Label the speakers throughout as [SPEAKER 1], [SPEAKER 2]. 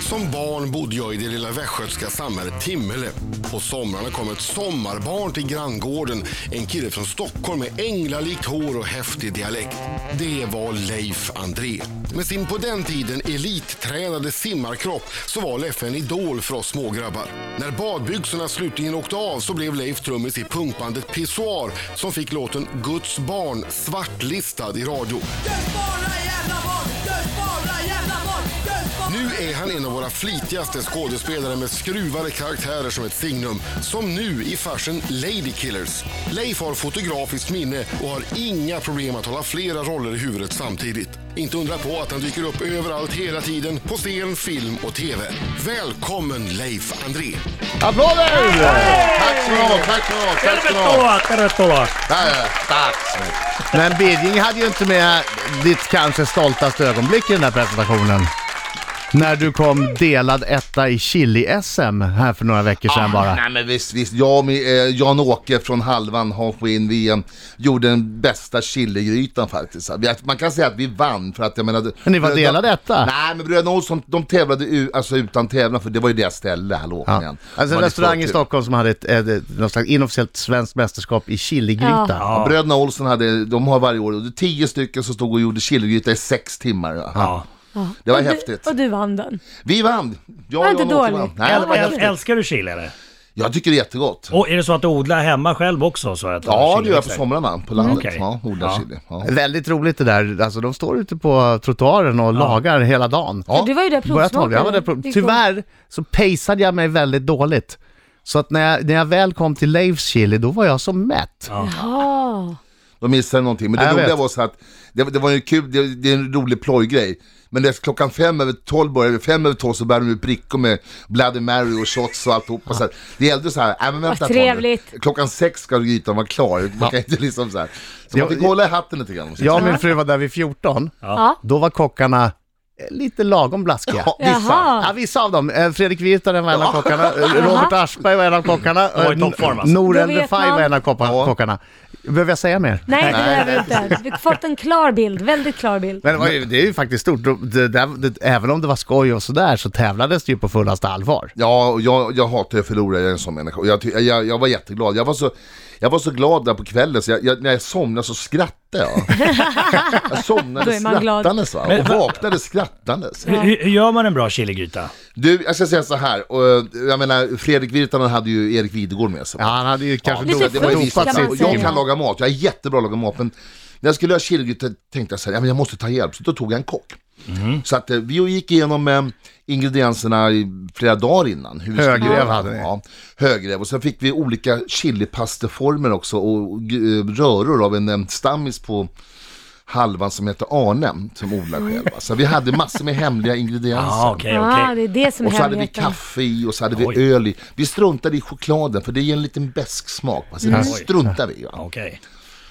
[SPEAKER 1] Som barn bodde jag i det lilla västgötska samhället Timmele. På somrarna kom ett sommarbarn till granngården. En kille från Stockholm med änglalikt hår och häftig dialekt. Det var Leif André. Med sin på den tiden elittränade simmarkropp så var Leffe en idol för oss smågrabbar. När badbyxorna slutligen åkte av så blev Leif trummis i punkbandet Pissoar som fick låten Guds barn svartlistad i radio. Nu är han en av våra flitigaste skådespelare med skruvade karaktärer som ett signum. Som nu i farsen Lady Killers. Leif har fotografiskt minne och har inga problem att hålla flera roller i huvudet samtidigt. Inte undra på att han dyker upp överallt hela tiden på scen, film och TV. Välkommen Leif André!
[SPEAKER 2] Applåder! Tack så mycket, tack så mycket, tack så mycket.
[SPEAKER 3] Tervetuloa, tervetuloa.
[SPEAKER 2] Tack, Tack så mycket. Men Birging hade ju inte med ditt kanske stoltaste ögonblick i den här presentationen. När du kom delad etta i chili-SM här för några veckor
[SPEAKER 4] Ah,
[SPEAKER 2] sedan bara.
[SPEAKER 5] Ah, Nej men visst, visst. Jag och min- eh, Jan-Åke från halvan Hansken VM eh, gjorde den bästa chiligrytan faktiskt. Vi- att- Man kan säga att vi vann för att jag menar...
[SPEAKER 2] Men ni var
[SPEAKER 5] Bröderna-
[SPEAKER 2] delade etta?
[SPEAKER 5] Nej men Bröderna Olsson, de tävlade u, alltså utan tävlan för det var ju deras ställe, hallå kom
[SPEAKER 2] Ja.
[SPEAKER 5] igen.
[SPEAKER 2] Alltså en
[SPEAKER 5] Man är
[SPEAKER 2] restaurang i
[SPEAKER 5] stolt.
[SPEAKER 2] Stockholm som hade ett, ett, ett, något slags inofficiellt svenskt mästerskap i chiligryta.
[SPEAKER 5] Ja. Bröderna Olsson hade, de har varje år, tio stycken som stod och gjorde chiligryta i sex timmar.
[SPEAKER 3] Ja.
[SPEAKER 5] Det var
[SPEAKER 4] och
[SPEAKER 5] häftigt.
[SPEAKER 4] Du, och du vann den.
[SPEAKER 5] Vi vann! Jag
[SPEAKER 4] Var
[SPEAKER 5] och
[SPEAKER 4] inte
[SPEAKER 5] Jan-Åke
[SPEAKER 4] dåligt.
[SPEAKER 5] vann. Nej, det var
[SPEAKER 3] Äl,
[SPEAKER 5] häftigt.
[SPEAKER 3] älskar du chili eller?
[SPEAKER 5] Jag tycker det är jättegott.
[SPEAKER 3] Och är det så att du odlar hemma själv också? Så att
[SPEAKER 5] Ja, det gör jag på
[SPEAKER 3] chili- Mm,
[SPEAKER 5] somrarna på landet.
[SPEAKER 3] Okej.
[SPEAKER 5] Ja, odlar
[SPEAKER 3] Ja.
[SPEAKER 5] chili. Ja.
[SPEAKER 2] Väldigt roligt det där. Alltså de står ute på trottoaren och lagar hela dagen.
[SPEAKER 4] Ja, du var ju där
[SPEAKER 2] Börjat hålla- jag var där
[SPEAKER 4] Det
[SPEAKER 2] på,
[SPEAKER 4] är
[SPEAKER 2] tyvärr så paceade jag mig väldigt dåligt. Så att när jag, när jag väl kom till Leifs chili, då var jag så mätt.
[SPEAKER 4] Ja.
[SPEAKER 5] De missade någonting. Men
[SPEAKER 2] Ja,
[SPEAKER 5] det
[SPEAKER 2] jag
[SPEAKER 5] roliga
[SPEAKER 2] vet.
[SPEAKER 5] var så att det, det var ju kul, det, det är en rolig plojgrej. Men det är klockan fem över tolv började, fem över tolv så bär de ut brickor med Bloody Mary och shots och alltihopa. Så här. Det gällde så här, nej men vänta
[SPEAKER 4] Vad
[SPEAKER 5] ett tag nu.
[SPEAKER 4] trevligt.
[SPEAKER 5] Klockan sex ska grytan vara klar. Man kan inte liksom så här. Så
[SPEAKER 2] Jag-
[SPEAKER 5] man fick hålla i hatten lite grann.
[SPEAKER 2] Jag och min fru var där vid 14.
[SPEAKER 4] Ja.
[SPEAKER 2] Då var kockarna eh, lite lagom blaskiga.
[SPEAKER 5] Ja, vissa.
[SPEAKER 4] Jaha.
[SPEAKER 2] Ja, vissa av dem. Eh, Fredrik Virtanen var en av kockarna, eh, Robert Aschberg var en av kockarna, Eh,
[SPEAKER 3] var i toppform, alltså.
[SPEAKER 2] Noren
[SPEAKER 4] Då vet
[SPEAKER 2] Refai var
[SPEAKER 4] man.
[SPEAKER 2] en av koppa-
[SPEAKER 5] Ja.
[SPEAKER 2] kockarna. Behöver jag säga mer?
[SPEAKER 4] Nej, det behöver du inte. Vi har fått en klar bild, väldigt klar bild.
[SPEAKER 2] Men det, var ju, det är ju faktiskt stort. Det, det, det, även om det var skoj och sådär så tävlades det ju på fullaste allvar.
[SPEAKER 5] Ja, och jag, jag hatar att förlora, jag är en sån människa. Och Jag, ty- jag, jag var jätteglad. Jag var, så, jag var så glad där på kvällen så jag, jag, när jag somnade så skrattade jag. jag
[SPEAKER 4] Då
[SPEAKER 5] somnade
[SPEAKER 4] är man glad.
[SPEAKER 5] skrattandes va? och vaknade skrattandes.
[SPEAKER 3] Hur, hur- hur gör man en bra chiligryta?
[SPEAKER 5] Du, jag ska säga så här. Och, eh, jag menar, Fredrik Virtanen hade ju Erik Videgård med sig.
[SPEAKER 2] Ja, han hade ju kanske
[SPEAKER 4] lite
[SPEAKER 2] dop-
[SPEAKER 5] det var ju
[SPEAKER 4] fusk
[SPEAKER 5] visat
[SPEAKER 4] kan
[SPEAKER 5] sig.
[SPEAKER 4] man
[SPEAKER 5] Och
[SPEAKER 4] säga.
[SPEAKER 5] Jag kan laga mat, jag är jättebra att laga mat. Men när jag skulle göra chiligryta tänkte jag så här, ja, men jag måste ta hjälp. Så då tog jag en kock. Så att eh, vi gick igenom eh, ingredienserna i flera dagar innan. Hur vi skulle
[SPEAKER 2] Högrev
[SPEAKER 5] göra.
[SPEAKER 2] hade ni.
[SPEAKER 5] Ja, högrev. Och sen fick vi olika chilipasteformer också och eh, röror av en eh, stammis på halvan som heter Arne som odlar själv. va. Så vi hade massor med hemliga ingredienser.
[SPEAKER 3] Alltså. Ja, okej,
[SPEAKER 4] Ah, det
[SPEAKER 3] okej.
[SPEAKER 4] är det som är
[SPEAKER 5] Och så hade vi
[SPEAKER 4] hemligheten.
[SPEAKER 5] kaffe i och så hade vi
[SPEAKER 3] Oj.
[SPEAKER 5] öl i. Vi struntade i chokladen för det ger en liten besk smak. Alltså,
[SPEAKER 2] Mm.
[SPEAKER 5] Det struntade vi i. va.
[SPEAKER 3] Okej.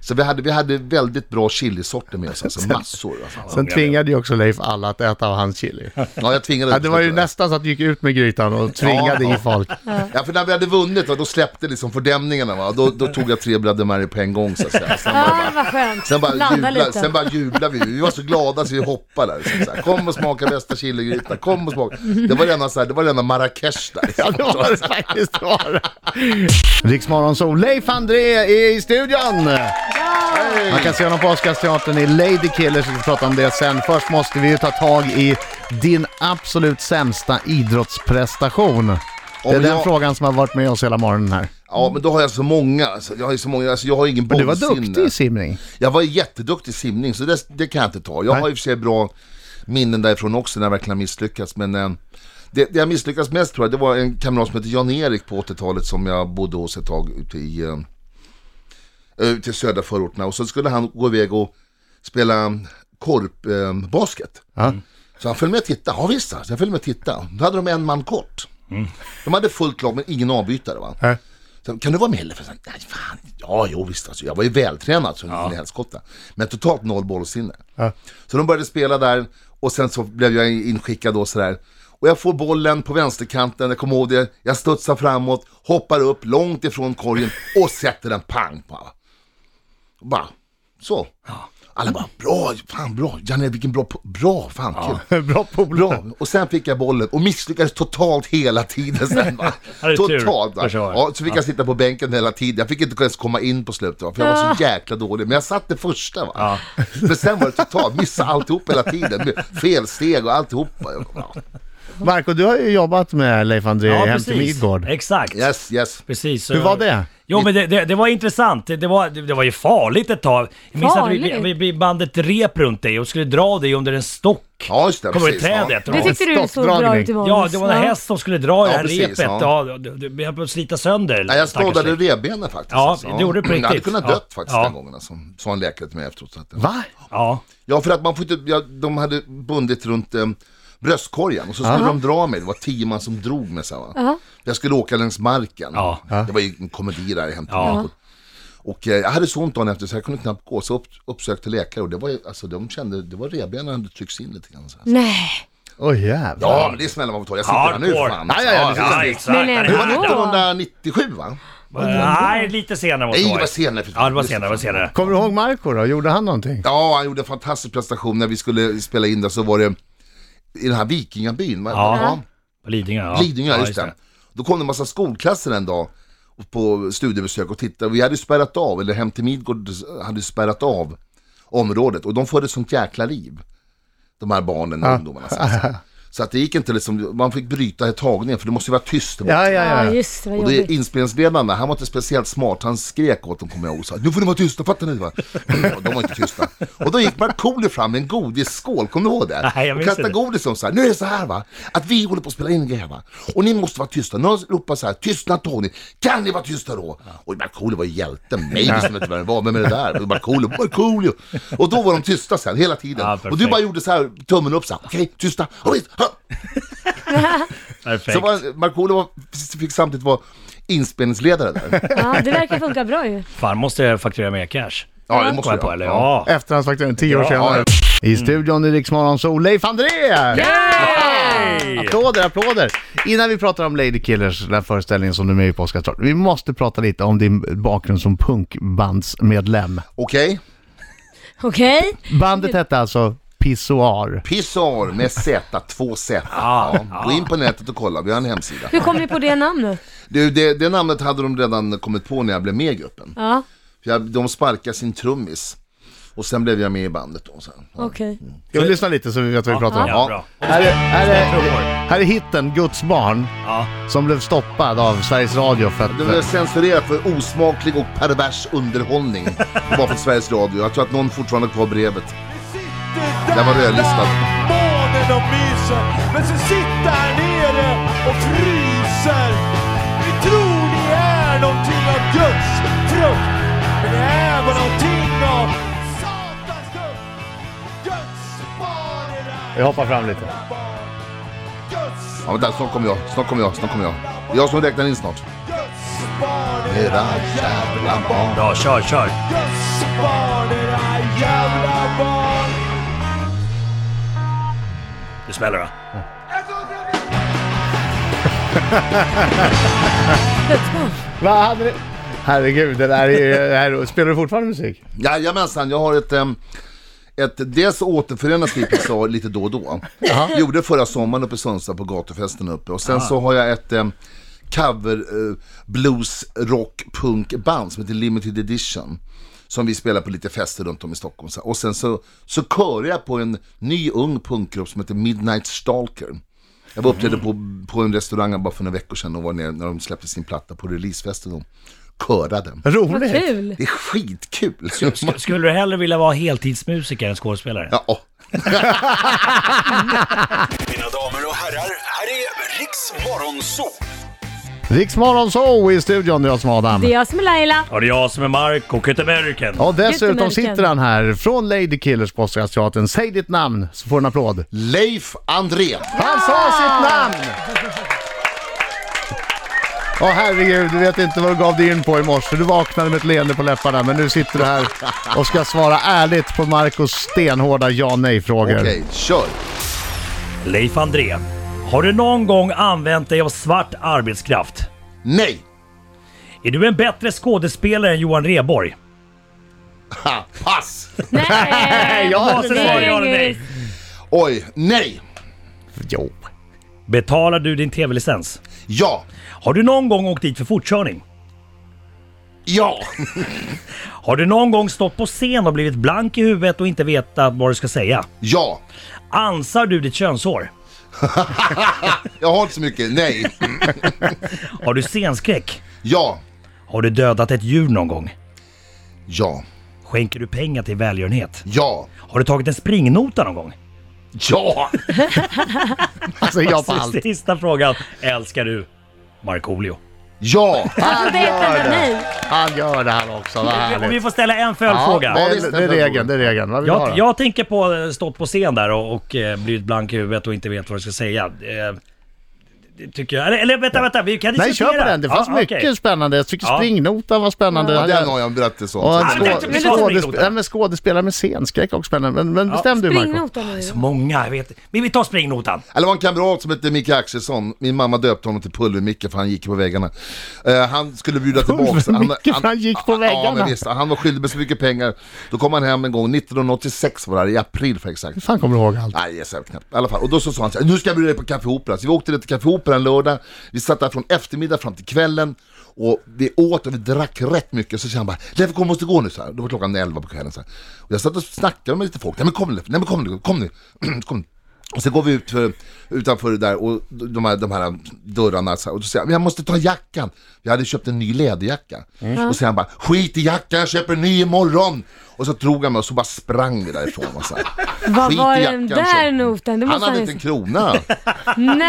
[SPEAKER 5] Så vi hade, vi hade väldigt bra chilisorter med oss, alltså massor. Alltså.
[SPEAKER 2] Sen tvingade ju också Leif alla att äta av hans chili.
[SPEAKER 5] Ja, jag tvingade
[SPEAKER 2] Ja, det var ju nästan så att du gick ut med grytan och tvingade i folk.
[SPEAKER 5] Ja, för när vi hade vunnit va, då släppte liksom fördämningarna. Va? Då, då tog jag tre Bloody Mary på en gång så att säga. Sen bara,
[SPEAKER 4] Ja, Ah, vad skönt.
[SPEAKER 5] sen bara,
[SPEAKER 4] Blanda
[SPEAKER 5] jubla,
[SPEAKER 4] lite.
[SPEAKER 5] sen bara jublade vi. Vi var så glada så vi hoppade där. Liksom, så här. Kom och smaka bästa chiligryta, kom och smaka. Det var rena, så här, det var rena Marrakesh där.
[SPEAKER 2] Ja, det var det faktiskt. det Var det. Riksmorgon så Leif André är i studion! Man kan se honom på Oscarsteatern i Lady Killers, vi ska prata om det sen. Först måste vi ju ta tag i din absolut sämsta idrottsprestation. Det är
[SPEAKER 5] Om
[SPEAKER 2] den
[SPEAKER 5] jag-
[SPEAKER 2] frågan som har varit med oss hela morgonen här.
[SPEAKER 5] Ja, men då har jag så många. Alltså, jag har ju så många, alltså, jag har ingen
[SPEAKER 2] Men du var
[SPEAKER 5] bollsinne.
[SPEAKER 2] duktig i simning.
[SPEAKER 5] Jag var jätteduktig i simning, så det, det kan jag inte ta. Jag har i och för sig bra minnen därifrån också när jag verkligen har misslyckats, men eh, det, det jag misslyckades mest tror jag, det var en kamrat som hette Jan-Erik på 80-talet som jag bodde hos ett tag ute i eh, ute i södra förorterna och så skulle han gå iväg och spela korpbasket. Eh, basket.
[SPEAKER 2] Ja.
[SPEAKER 5] Så han följde med och tittade, ja visst alltså, jag följde med och tittade. Då hade de en man kort. De hade fullt lag men ingen avbytare va.
[SPEAKER 2] Nej.
[SPEAKER 5] Så, kan du vara med Leffe? Så, Nej fan, ja jo visst alltså. Jag var ju vältränad som ja. helskotta. Men totalt noll bollsinne. Så de började spela där och sen så blev jag inskickad då sådär. Och jag får bollen på vänsterkanten, jag kommer ihåg det. Jag studsar framåt, hoppar upp långt ifrån korgen och sätter den pang. Bara. bara så. Alla bara bra, fan bra, Janne vilken bra, po- bra, fan kul.
[SPEAKER 2] Bra polare.
[SPEAKER 5] Bra. Och sen fick jag bollen och misslyckades totalt hela tiden sen va.
[SPEAKER 3] Ja, det är tur,
[SPEAKER 5] totalt va.
[SPEAKER 3] försvar.
[SPEAKER 5] Ja, så fick jag sitta på bänken hela tiden. Jag fick inte ens komma in på slutet va, för jag var så jäkla dålig. Men jag satt det första va. Men sen var det totalt, missade alltihop hela tiden. Med Fel steg och alltihop. Ja.
[SPEAKER 2] Marco, du har ju jobbat med Leif André hem till Midgård.
[SPEAKER 3] Exakt.
[SPEAKER 5] Yes, yes.
[SPEAKER 3] Precis.
[SPEAKER 2] Hur var det?
[SPEAKER 3] Jo men det, det, det var intressant. Det, det, var, det, det var ju farligt ett tag. Jag minns att vi- vi, vi,
[SPEAKER 4] Farligt?
[SPEAKER 3] vi band ett rep runt dig och skulle dra dig under en stock.
[SPEAKER 5] Ja, just det.
[SPEAKER 3] Kommer du
[SPEAKER 5] precis. ja.
[SPEAKER 3] trädet?
[SPEAKER 4] Det tyckte du såg bra
[SPEAKER 2] Stockdragning.
[SPEAKER 4] ut Yvonne.
[SPEAKER 3] Ja, det var en häst som skulle dra i det här
[SPEAKER 5] precis,
[SPEAKER 3] repet.
[SPEAKER 5] ja.
[SPEAKER 3] Ja, det- det- vi höll på att slita sönder.
[SPEAKER 5] Nej, jag
[SPEAKER 3] stackars
[SPEAKER 5] skadade
[SPEAKER 3] dig.
[SPEAKER 5] revbenen faktiskt. Mm,
[SPEAKER 3] Ja, det gjorde du på
[SPEAKER 5] Jag hade
[SPEAKER 3] riktigt.
[SPEAKER 5] kunnat
[SPEAKER 3] Ja.
[SPEAKER 5] dött faktiskt
[SPEAKER 3] Ja.
[SPEAKER 5] den gången, alltså, sa en läkare till mig efteråt. Att,
[SPEAKER 2] Va?
[SPEAKER 3] Ja.
[SPEAKER 5] Ja, för att man får inte, ja, de hade bundit runt eh, bröstkorgen och så skulle de dra mig. Det var tio man som drog mig. Så, va? Jag skulle åka längs marken.
[SPEAKER 3] Ja.
[SPEAKER 5] Det var ju en komedi där i Hem till
[SPEAKER 3] Ja.
[SPEAKER 5] Midgård. Och eh, jag hade så ont dagen efter så jag kunde knappt gå. Så upp, uppsökte läkare och det var ju, alltså de kände, det var revbenen hade tryckts in lite grann. Så. här.
[SPEAKER 4] Nej,
[SPEAKER 2] Åh jävlar.
[SPEAKER 5] Ja, men det är smällar man får ta. Jag sitter här nu
[SPEAKER 3] Hardcore.
[SPEAKER 5] fan. alltså.
[SPEAKER 2] Ja, ja, ja, det
[SPEAKER 3] Ja,
[SPEAKER 5] det
[SPEAKER 3] exakt.
[SPEAKER 4] Men ändå.
[SPEAKER 3] Ja,
[SPEAKER 5] var
[SPEAKER 4] Ja.
[SPEAKER 5] 1997 va?
[SPEAKER 3] Nej, lite senare måste
[SPEAKER 5] Nej, det
[SPEAKER 3] det vara.
[SPEAKER 5] var senare. för-
[SPEAKER 3] Ja, det var senare. Det var senare.
[SPEAKER 2] Kommer du ihåg Marco då? Gjorde han någonting?
[SPEAKER 5] Ja, han gjorde en fantastisk prestation. När vi skulle spela in det så var det i den här vikingabyn. va?
[SPEAKER 3] Ja. På Lidingö, ja.
[SPEAKER 5] Lidingö,
[SPEAKER 3] ja,
[SPEAKER 5] just det. Då kom det en massa skolklasser en dag på studiebesök och tittade. Vi hade spärrat av, eller Hem till Midgård hade spärrat av området och de förde sånt jäkla liv. De här barnen och ungdomarna. Så att, så att det gick inte liksom, man fick bryta tagningen för det måste ju vara tyst. där
[SPEAKER 2] Ja,
[SPEAKER 5] borta.
[SPEAKER 2] ja,
[SPEAKER 4] ja
[SPEAKER 2] ja.
[SPEAKER 4] Ah, just det, vad
[SPEAKER 5] Och det
[SPEAKER 4] jobbigt.
[SPEAKER 5] är inspelningsledaren, han var inte speciellt smart, han skrek åt dem kommer jag ihåg och sa Nu får ni vara tysta, fattar ni? Va? Och de var inte tysta. Och då gick Markoolio fram med en godisskål, kommer du ihåg det?
[SPEAKER 3] Nej, jag
[SPEAKER 5] och
[SPEAKER 3] minns
[SPEAKER 5] kastade
[SPEAKER 3] det.
[SPEAKER 5] godis och sa Nu är det så här va, att vi håller på att spela in grejer va. Och ni måste vara tysta. Någon ropar så här, tystnad Tony, kan ni vara tysta då? Och Markoolio var ju hjälten, mig visste inte vem det var, vem är det där? Och Markoolio, Markoolio. Och då var de tysta sen, hela tiden.
[SPEAKER 3] Ja,
[SPEAKER 5] och du
[SPEAKER 3] perfekt.
[SPEAKER 5] bara gjorde så här, tummen upp så här, okej, tysta, ja, visst, ja.
[SPEAKER 3] Perfekt.
[SPEAKER 5] Så var- Markoolio var- fick samtidigt vara inspelningsledare där.
[SPEAKER 4] Ja, det verkar funka bra ju.
[SPEAKER 3] Fan, måste jag fakturera mer cash?
[SPEAKER 5] Ja, det måste
[SPEAKER 3] Kom jag
[SPEAKER 5] jag.
[SPEAKER 3] på, eller?
[SPEAKER 5] Ja.
[SPEAKER 3] Ja.
[SPEAKER 2] Efterhandsfakturen, tio år
[SPEAKER 3] Ja.
[SPEAKER 2] senare. I studion i Rix Morgonzoo, Leif André!
[SPEAKER 3] Yay!
[SPEAKER 2] Applåder, applåder! Innan vi pratar om Lady Killers, den här föreställningen som du är med i på Oscar snart, Vi måste prata lite om din bakgrund som punkbandsmedlem.
[SPEAKER 5] Okej,
[SPEAKER 4] Okej?
[SPEAKER 2] Bandet hette alltså Pissoar.
[SPEAKER 5] Pissar med Z, två Z.
[SPEAKER 3] Ja,
[SPEAKER 5] Ja. Gå in på nätet och kolla, vi har en hemsida.
[SPEAKER 4] Hur kom ni på det namnet?
[SPEAKER 5] Du, det, det namnet hade de redan kommit på när jag blev med i gruppen.
[SPEAKER 4] Ja,
[SPEAKER 5] För jag, de sparkade sin trummis. Och sen blev jag med i bandet då. Så. här. Ja.
[SPEAKER 4] okej.
[SPEAKER 2] Ska vi lyssna lite så vi vet vad vi pratar om?
[SPEAKER 3] Ja, bra.
[SPEAKER 2] Här är, här
[SPEAKER 3] trummor.
[SPEAKER 2] är, här är hitten Guds barn
[SPEAKER 3] Ja.
[SPEAKER 2] som blev stoppad av Sveriges Radio för att...
[SPEAKER 5] Det blev censurerat för osmaklig och pervers underhållning. Bara för Sveriges Radio. Jag tror att någon fortfarande har kvar brevet.
[SPEAKER 6] Där
[SPEAKER 5] var rödlistad.
[SPEAKER 6] Månen och myser, men så sitter här nere och fryser. Ni tror ni är någonting av Guds frukt, men ni är bara någonting av Satans frukt. Guds barn är där.
[SPEAKER 2] Jag hoppar fram lite.
[SPEAKER 6] Guds
[SPEAKER 5] Ja, vänta, snart kommer jag, snart kommer jag, snart kommer jag. Det är jag som räknar in snart.
[SPEAKER 6] Guds barn är
[SPEAKER 5] Era
[SPEAKER 6] där.
[SPEAKER 5] jävla barn.
[SPEAKER 3] Bra, kör, kör.
[SPEAKER 6] Guds barn är där. Jävla barn.
[SPEAKER 3] Det smäller va?
[SPEAKER 2] Vad hade ni... Herregud, det där är ju... det här är- Spelar du fortfarande musik?
[SPEAKER 5] Jajamensan, jag har ett... ehm, ett dels återförenas vi i PSA lite då och då. Gjorde förra sommaren uppe i Sundsvall på gatufesten uppe. Och sen så har jag ett ehm, cover eh, blues rock punk band som heter Limited Edition. Som vi spelar på lite fester runt om i Stockholm. så här. Och sen så, så körde jag på en ny ung punkgrupp som heter Midnight Stalker. Jag var uppträdde på, på en restaurang bara för några veckor sedan och var nere när de släppte sin platta på releasefesten och körade.
[SPEAKER 3] typ?
[SPEAKER 4] Vad
[SPEAKER 2] Roligt!
[SPEAKER 4] kul!
[SPEAKER 5] Det är skitkul!
[SPEAKER 3] Sk- Skulle du hellre vilja vara heltidsmusiker än skådespelare?
[SPEAKER 5] Ja, åh.
[SPEAKER 7] Mina damer och herrar, här är Riks Morgonzoo!
[SPEAKER 2] Rix Morgonzoo i studion, det är jag som är Adam.
[SPEAKER 4] Det är jag som är Laila.
[SPEAKER 3] Ja, det är jag som är Mark och Kurt American.
[SPEAKER 2] Och dessutom
[SPEAKER 4] Jättemärken.
[SPEAKER 2] sitter han här från Lady Killers på Oscarsteatern. Säg ditt namn så får du en applåd.
[SPEAKER 5] Leif André!
[SPEAKER 2] Han sa sitt namn! Åh herregud, du vet inte vad du gav dig in på i morse. Du vaknade med ett leende på läpparna, men nu sitter du här och ska svara ärligt på Marcos stenhårda ja nej-frågor.
[SPEAKER 5] Okej, kör!
[SPEAKER 3] Leif André, har du någon gång använt dig av svart arbetskraft?
[SPEAKER 5] Nej!
[SPEAKER 3] Är du en bättre skådespelare än Johan Rheborg?
[SPEAKER 5] Ha, pass!
[SPEAKER 4] Nej!
[SPEAKER 2] Ja,
[SPEAKER 4] det
[SPEAKER 2] så
[SPEAKER 4] är
[SPEAKER 3] svarar jag
[SPEAKER 4] ingen
[SPEAKER 3] nej.
[SPEAKER 4] risk.
[SPEAKER 5] Oj, nej!
[SPEAKER 2] Jo.
[SPEAKER 3] Betalar du din tv-licens?
[SPEAKER 5] Ja!
[SPEAKER 3] Har du någon gång åkt dit för fortkörning?
[SPEAKER 5] Ja!
[SPEAKER 3] Har du någon gång stått på scen och blivit blank i huvudet och inte vetat vad du ska säga?
[SPEAKER 5] Ja!
[SPEAKER 3] Ansar du ditt könshår?
[SPEAKER 5] Jag har inte så mycket, nej!
[SPEAKER 3] Har du scenskräck?
[SPEAKER 5] Ja!
[SPEAKER 3] Har du dödat ett djur någon gång?
[SPEAKER 5] Ja!
[SPEAKER 3] Skänker du pengar till välgörenhet?
[SPEAKER 5] Ja!
[SPEAKER 3] Har du tagit en springnota någon gång?
[SPEAKER 5] Ja!
[SPEAKER 2] Alltså jag på allt.
[SPEAKER 3] Sista frågan. Älskar du Markoolio?
[SPEAKER 5] Ja!
[SPEAKER 4] Alltså det är ett nej.
[SPEAKER 2] Han gör det här också, vad
[SPEAKER 3] Om vi
[SPEAKER 2] härligt.
[SPEAKER 3] får ställa en följdfråga.
[SPEAKER 2] det,
[SPEAKER 5] Ja,
[SPEAKER 2] är- det är regeln, det är regeln. Vad vill du ha
[SPEAKER 3] Jag,
[SPEAKER 2] då?
[SPEAKER 3] jag tänker på eh, stått på scen där och, och eh, blivit blank i huvudet och inte vet vad du ska säga. Eh, det tycker jag. Eller, eller vänta, vänta, vi kan
[SPEAKER 2] Nej,
[SPEAKER 3] diskutera.
[SPEAKER 2] kör på den. Det fanns
[SPEAKER 3] Ja,
[SPEAKER 2] mycket
[SPEAKER 3] okej.
[SPEAKER 2] spännande. Jag tycker
[SPEAKER 3] Ja.
[SPEAKER 2] springnotan var spännande.
[SPEAKER 5] Ja, den har jag en berättelse
[SPEAKER 2] Och
[SPEAKER 5] om.
[SPEAKER 2] att
[SPEAKER 3] men
[SPEAKER 2] skå-
[SPEAKER 3] tänkte vi ta
[SPEAKER 2] skådesp-
[SPEAKER 3] springnotan.
[SPEAKER 2] nej, men skådespelare med scenskräck också spännande. Men, men bestäm du Marco.
[SPEAKER 4] Springnota nu.
[SPEAKER 3] Så många, jag vet. Men vi tar springnotan.
[SPEAKER 5] Eller det var en kamrat som hette Micke Axelsson, min mamma döpte honom till Pulver-Micke för han gick på väggarna. Eh, han skulle bjuda tillbaka...
[SPEAKER 2] Pulver-Micke för han gick på
[SPEAKER 5] Ja,
[SPEAKER 2] väggarna.
[SPEAKER 5] men visst, han var skyldig mig så mycket pengar. Då kom han hem en gång, 1986 var det här, i april för exakt.
[SPEAKER 2] Hur fan kommer du ihåg allt?
[SPEAKER 5] Nej, jag ser knappt. I alla fall. Och då så sa han så här, nu ska jag bjuda dig på Café Opera. Så vi åkte ner till Café Opera en lördag, vi satt där från eftermiddag fram till kvällen och vi åt och vi drack rätt mycket. Så sa han bara, Leffe kom, måste gå nu. Så här. Då var klockan 11 på kvällen. Så här. Och jag satt och snackade med lite folk. Nej men kom nu Leffe, nej men kom nu, kom nu. kom nu. Och sen går vi ut för, utanför det där och de här, de här dörrarna så här, och då säger jag, "Men jag måste ta jackan. Jag hade köpt en ny läderjacka. Och så säger han bara, skit i jackan, jag köper en ny imorgon. Och så drog han mig och så bara sprang vi därifrån. Och så här.
[SPEAKER 4] Vad
[SPEAKER 5] Skit i
[SPEAKER 4] var
[SPEAKER 5] jackan,
[SPEAKER 4] den
[SPEAKER 5] så.
[SPEAKER 4] där notan? Det
[SPEAKER 5] Han
[SPEAKER 4] måste
[SPEAKER 5] hade
[SPEAKER 4] han
[SPEAKER 5] inte en
[SPEAKER 4] ju...
[SPEAKER 5] krona. Han hade inte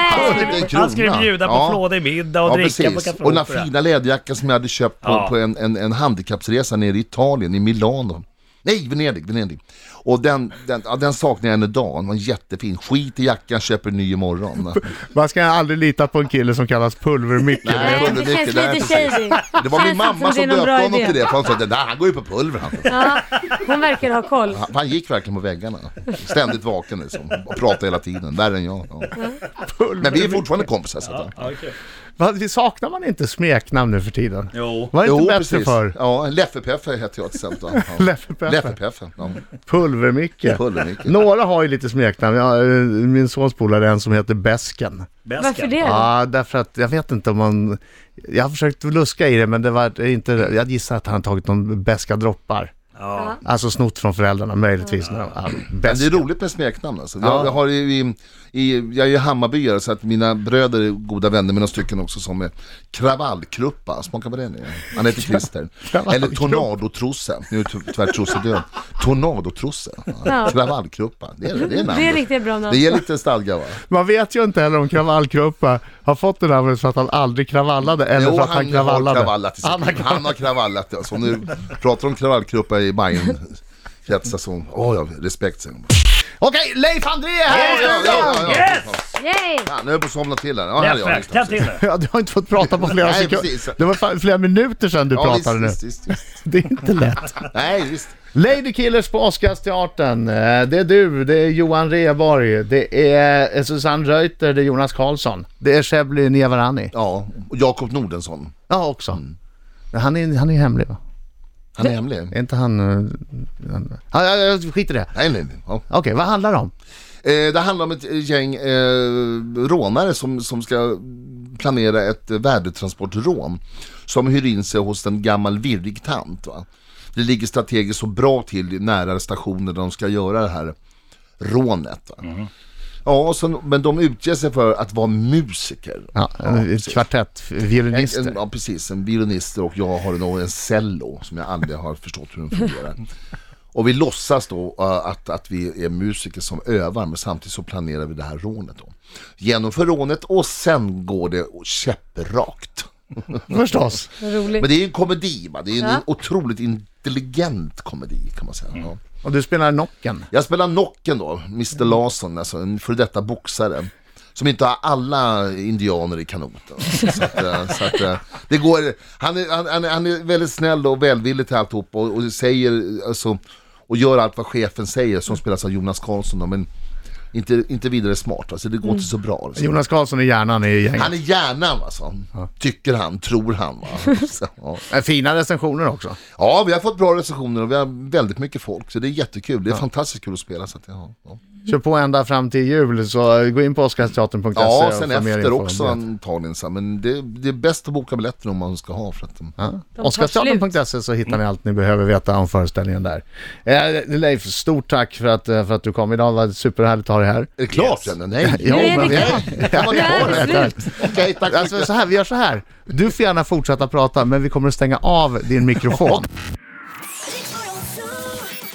[SPEAKER 4] Nej!
[SPEAKER 5] en krona.
[SPEAKER 3] Han skulle bjuda på
[SPEAKER 5] Ja.
[SPEAKER 3] flådig middag och
[SPEAKER 5] Ja,
[SPEAKER 3] dricka på
[SPEAKER 5] precis.
[SPEAKER 3] Café
[SPEAKER 5] Och den här
[SPEAKER 3] Opera.
[SPEAKER 5] fina läderjackan som jag hade köpt på,
[SPEAKER 3] Ja.
[SPEAKER 5] på en, en, en handikappsresa nere i Italien, i Milano. Nej, Venedig, Venedig. Och den, den, ja, den saknar jag än idag. Den var jättefin. Skit i jackan, köper en ny imorgon.
[SPEAKER 2] Man ska aldrig lita på en kille som kallas Pulver-Micke.
[SPEAKER 5] Nej,
[SPEAKER 4] Nej,
[SPEAKER 5] det
[SPEAKER 4] det
[SPEAKER 5] är
[SPEAKER 4] känns
[SPEAKER 5] mycket där,
[SPEAKER 4] lite
[SPEAKER 5] precis.
[SPEAKER 4] shady.
[SPEAKER 5] Det var
[SPEAKER 4] Känns
[SPEAKER 5] min
[SPEAKER 4] inte
[SPEAKER 5] mamma
[SPEAKER 4] som det
[SPEAKER 5] som
[SPEAKER 4] är någon
[SPEAKER 5] döpte
[SPEAKER 4] bra
[SPEAKER 5] honom
[SPEAKER 4] idé.
[SPEAKER 5] till det, för han sa att han går ju på pulver han.
[SPEAKER 4] Ja, hon verkar ha koll.
[SPEAKER 5] Han- Han gick verkligen på väggarna. Ständigt vaken liksom. Och pratade hela tiden. Värre än jag. Ja. Men vi är fortfarande kompisar. Så att,
[SPEAKER 3] Ja, okej.
[SPEAKER 2] Vad- vi Saknar man inte smeknamn nu för tiden?
[SPEAKER 3] Jo.
[SPEAKER 2] Var det inte
[SPEAKER 5] Jo,
[SPEAKER 2] bättre
[SPEAKER 5] precis.
[SPEAKER 2] förr?
[SPEAKER 5] Ja, Leffepeffe hette jag till exempel. Ja.
[SPEAKER 2] Leffepeffe.
[SPEAKER 5] Leffepeffe, ja.
[SPEAKER 2] Pulver-Micke.
[SPEAKER 5] Pulver-Micke.
[SPEAKER 2] Några har ju lite smeknamn. Jag, eh, min sons polare är en som heter Besken.
[SPEAKER 3] Bäsken.
[SPEAKER 4] Varför alltså, det? då?
[SPEAKER 2] Ja, därför att jag vet inte om man... Jag har försökt luska i det, men det var inte... Jag gissar att han tagit någon beska droppar.
[SPEAKER 3] Ja.
[SPEAKER 2] Alltså snott från föräldrarna, möjligtvis. Ja. Ja,
[SPEAKER 5] Men det är
[SPEAKER 2] Besken.
[SPEAKER 5] roligt med smeknamn alltså. jag, jag, har ju, i, i, jag är ju Hammarbyare så att mina bröder är goda vänner med några stycken också som är Kravallkruppa, smaka på det nu. Han heter Christer. Eller Tornadotrosse, nu är ty- tyvärr Trosse död. Tornadotrosse, ja.
[SPEAKER 4] Ja.
[SPEAKER 5] Kravallkruppa, det är, det är namnet.
[SPEAKER 4] Det är riktigt bra
[SPEAKER 5] Det
[SPEAKER 4] namn.
[SPEAKER 5] ger lite stadga va?
[SPEAKER 2] Man vet ju inte heller om Kravallkruppa har fått det namnet för att han aldrig kravallade eller för att han,
[SPEAKER 5] har
[SPEAKER 2] kravallade.
[SPEAKER 5] kravallat i sitt
[SPEAKER 2] Han har
[SPEAKER 5] liv. Han har kravallat, alltså. Om du pratar om kravallkruppa i Bayern kretsar så, åh ja, respekt säger de.
[SPEAKER 2] Okej, Leif André är här i
[SPEAKER 5] Ja,
[SPEAKER 2] studion!
[SPEAKER 5] ja, ja, ja.
[SPEAKER 3] Yes!
[SPEAKER 4] Yay!
[SPEAKER 5] Fan, nu höll jag på att somna till här. Ja, här är jag.
[SPEAKER 3] Leffe,
[SPEAKER 5] Just det.
[SPEAKER 3] tänd till nu.
[SPEAKER 2] Ja, du har inte fått prata på flera
[SPEAKER 5] Nej, precis.
[SPEAKER 2] sekunder. Det var fan flera minuter sedan du
[SPEAKER 5] Ja, visst,
[SPEAKER 2] pratade nu.
[SPEAKER 5] visst, visst, visst.
[SPEAKER 2] Det är inte lätt.
[SPEAKER 5] Nej, visst.
[SPEAKER 2] Lady Killers på Oscarsteatern. Eh, Det är du, det är Johan Rheborg, det är eh, Susanne Reuter, det är Jonas Karlsson. Det är Shebly Nevarani.
[SPEAKER 5] Ja, och Jakob Nordensson.
[SPEAKER 2] Ja, också.
[SPEAKER 5] Mm.
[SPEAKER 2] Men Han är, han är hemlig va?
[SPEAKER 5] Han är hemlig.
[SPEAKER 2] Är inte han... eh, han ja, ja, ja, skit i det.
[SPEAKER 5] Nej, nej, nej. Ja.
[SPEAKER 2] Okej, vad handlar det om?
[SPEAKER 5] Eh, det handlar om ett eh, gäng eh, rånare som, som ska planera ett eh, värdetransportrån som hyr in sig hos en gammal virrig tant. Va? Det ligger strategiskt så bra till nära stationer där de ska göra det här rånet. Va?
[SPEAKER 2] Mm.
[SPEAKER 5] Ja, och sen, men de utger sig för att vara musiker.
[SPEAKER 2] Ja, en
[SPEAKER 5] precis.
[SPEAKER 2] kvartett,
[SPEAKER 5] En,
[SPEAKER 2] violinister.
[SPEAKER 5] en, ja, precis. En violinister och jag har nog en cello som jag aldrig har förstått hur den fungerar. Och vi låtsas då eh, att, att vi är musiker som övar, men samtidigt så planerar vi det här rånet då. Genomför rånet och sen går det käpprakt.
[SPEAKER 2] Förstås.
[SPEAKER 4] Roligt.
[SPEAKER 5] Men det är ju en komedi, va? det är en
[SPEAKER 4] Ja. Mm.
[SPEAKER 5] otroligt intelligent komedi kan man säga. Ja.
[SPEAKER 2] Och du spelar Nocken.
[SPEAKER 5] Jag spelar Nocken då, Mr Larsson, alltså en före detta boxare. Som inte har alla indianer i kanoten. Så att, eh, så att, eh, det går, han, är, han, han är- han är väldigt snäll och välvillig till alltihop och, och säger, alltså, och gör allt vad chefen säger som spelas av Jonas Karlsson då, men inte, inte vidare smart. Alltså det går inte så bra. Alltså.
[SPEAKER 2] Jonas Karlsson är hjärnan i gänget.
[SPEAKER 5] Han är hjärnan alltså. Tycker han, tror han. Va? Så, ja.
[SPEAKER 2] Eh, Fina recensioner också.
[SPEAKER 5] ja, vi har fått bra recensioner och vi har väldigt mycket folk. Så det är jättekul. Det är fantastiskt kul att spela. Så att, ja, ja.
[SPEAKER 2] Kör på ända fram till jul så eh, gå in på oscarsteatern.se.
[SPEAKER 5] ja
[SPEAKER 2] och
[SPEAKER 5] sen
[SPEAKER 2] få mer
[SPEAKER 5] efter
[SPEAKER 2] info om
[SPEAKER 5] också
[SPEAKER 2] det.
[SPEAKER 5] antagligen. Så, här, men det, det är bäst att boka biljetter om man ska ha. För att, de-
[SPEAKER 2] Ja.
[SPEAKER 4] tar
[SPEAKER 2] Oscarsteatern.se så hittar ni allt ni behöver veta om föreställningen där. Eh, Leif, stort tack för att, eh, för att du kom idag. Det var superhärligt att ha dig här.
[SPEAKER 5] Är det klart yes. än? Nej.
[SPEAKER 2] Jo,
[SPEAKER 4] Nu är
[SPEAKER 2] men-
[SPEAKER 4] det klart.
[SPEAKER 5] Jag var
[SPEAKER 4] Nu är
[SPEAKER 5] kvar här.
[SPEAKER 4] det slut.
[SPEAKER 5] Okej, tack så
[SPEAKER 2] Alltså,
[SPEAKER 5] mycket.
[SPEAKER 2] så här, vi gör så här. Du får gärna fortsätta prata, men vi kommer att stänga av din mikrofon.
[SPEAKER 8] Riks Morgonzoo.